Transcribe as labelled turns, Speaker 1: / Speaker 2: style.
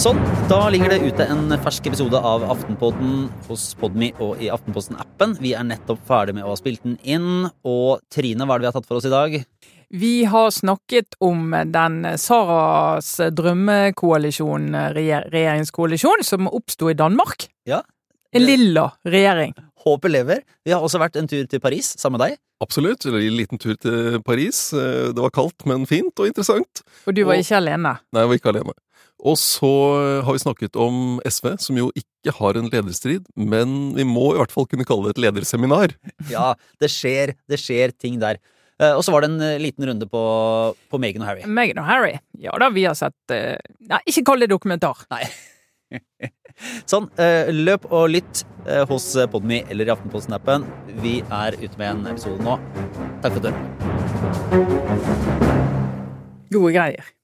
Speaker 1: Sånn, da ligger det ute en fersk episode av Aftenpodden hos Podmy og i Aftenposten-appen. Vi er nettopp ferdig med å ha spilt den inn. Og Trine, hva er det vi har tatt for oss i dag?
Speaker 2: Vi har snakket om den Saras drømmekoalisjon, regjer- regjeringskoalisjon, som oppsto i Danmark.
Speaker 1: Ja.
Speaker 2: En lilla regjering.
Speaker 1: Håpet lever. Vi har også vært en tur til Paris sammen med deg.
Speaker 3: Absolutt. eller En liten tur til Paris. Eh, Det var kaldt, men fint og interessant.
Speaker 2: Og du var
Speaker 3: Og-
Speaker 2: ikke alene.
Speaker 3: Nei, jeg var ikke alene. Og så har vi snakket om SV, som jo ikke har en lederstrid, men vi må i hvert fall kunne kalle det et lederseminar.
Speaker 1: Ja, det skjer, det skjer ting der. Eh, Og så var det en eh, liten runde på, på Meghan og Harry.
Speaker 2: Meghan og Harry. Ja da, vi har sett eh, Nei, ikke kall det dokumentar.
Speaker 1: Sånn, eh, løp og lytt eh, hos Podmy eller i Aftenposten-appen. Vi er ute med en episode nå. Takk for at du hørte.
Speaker 2: Gode greier.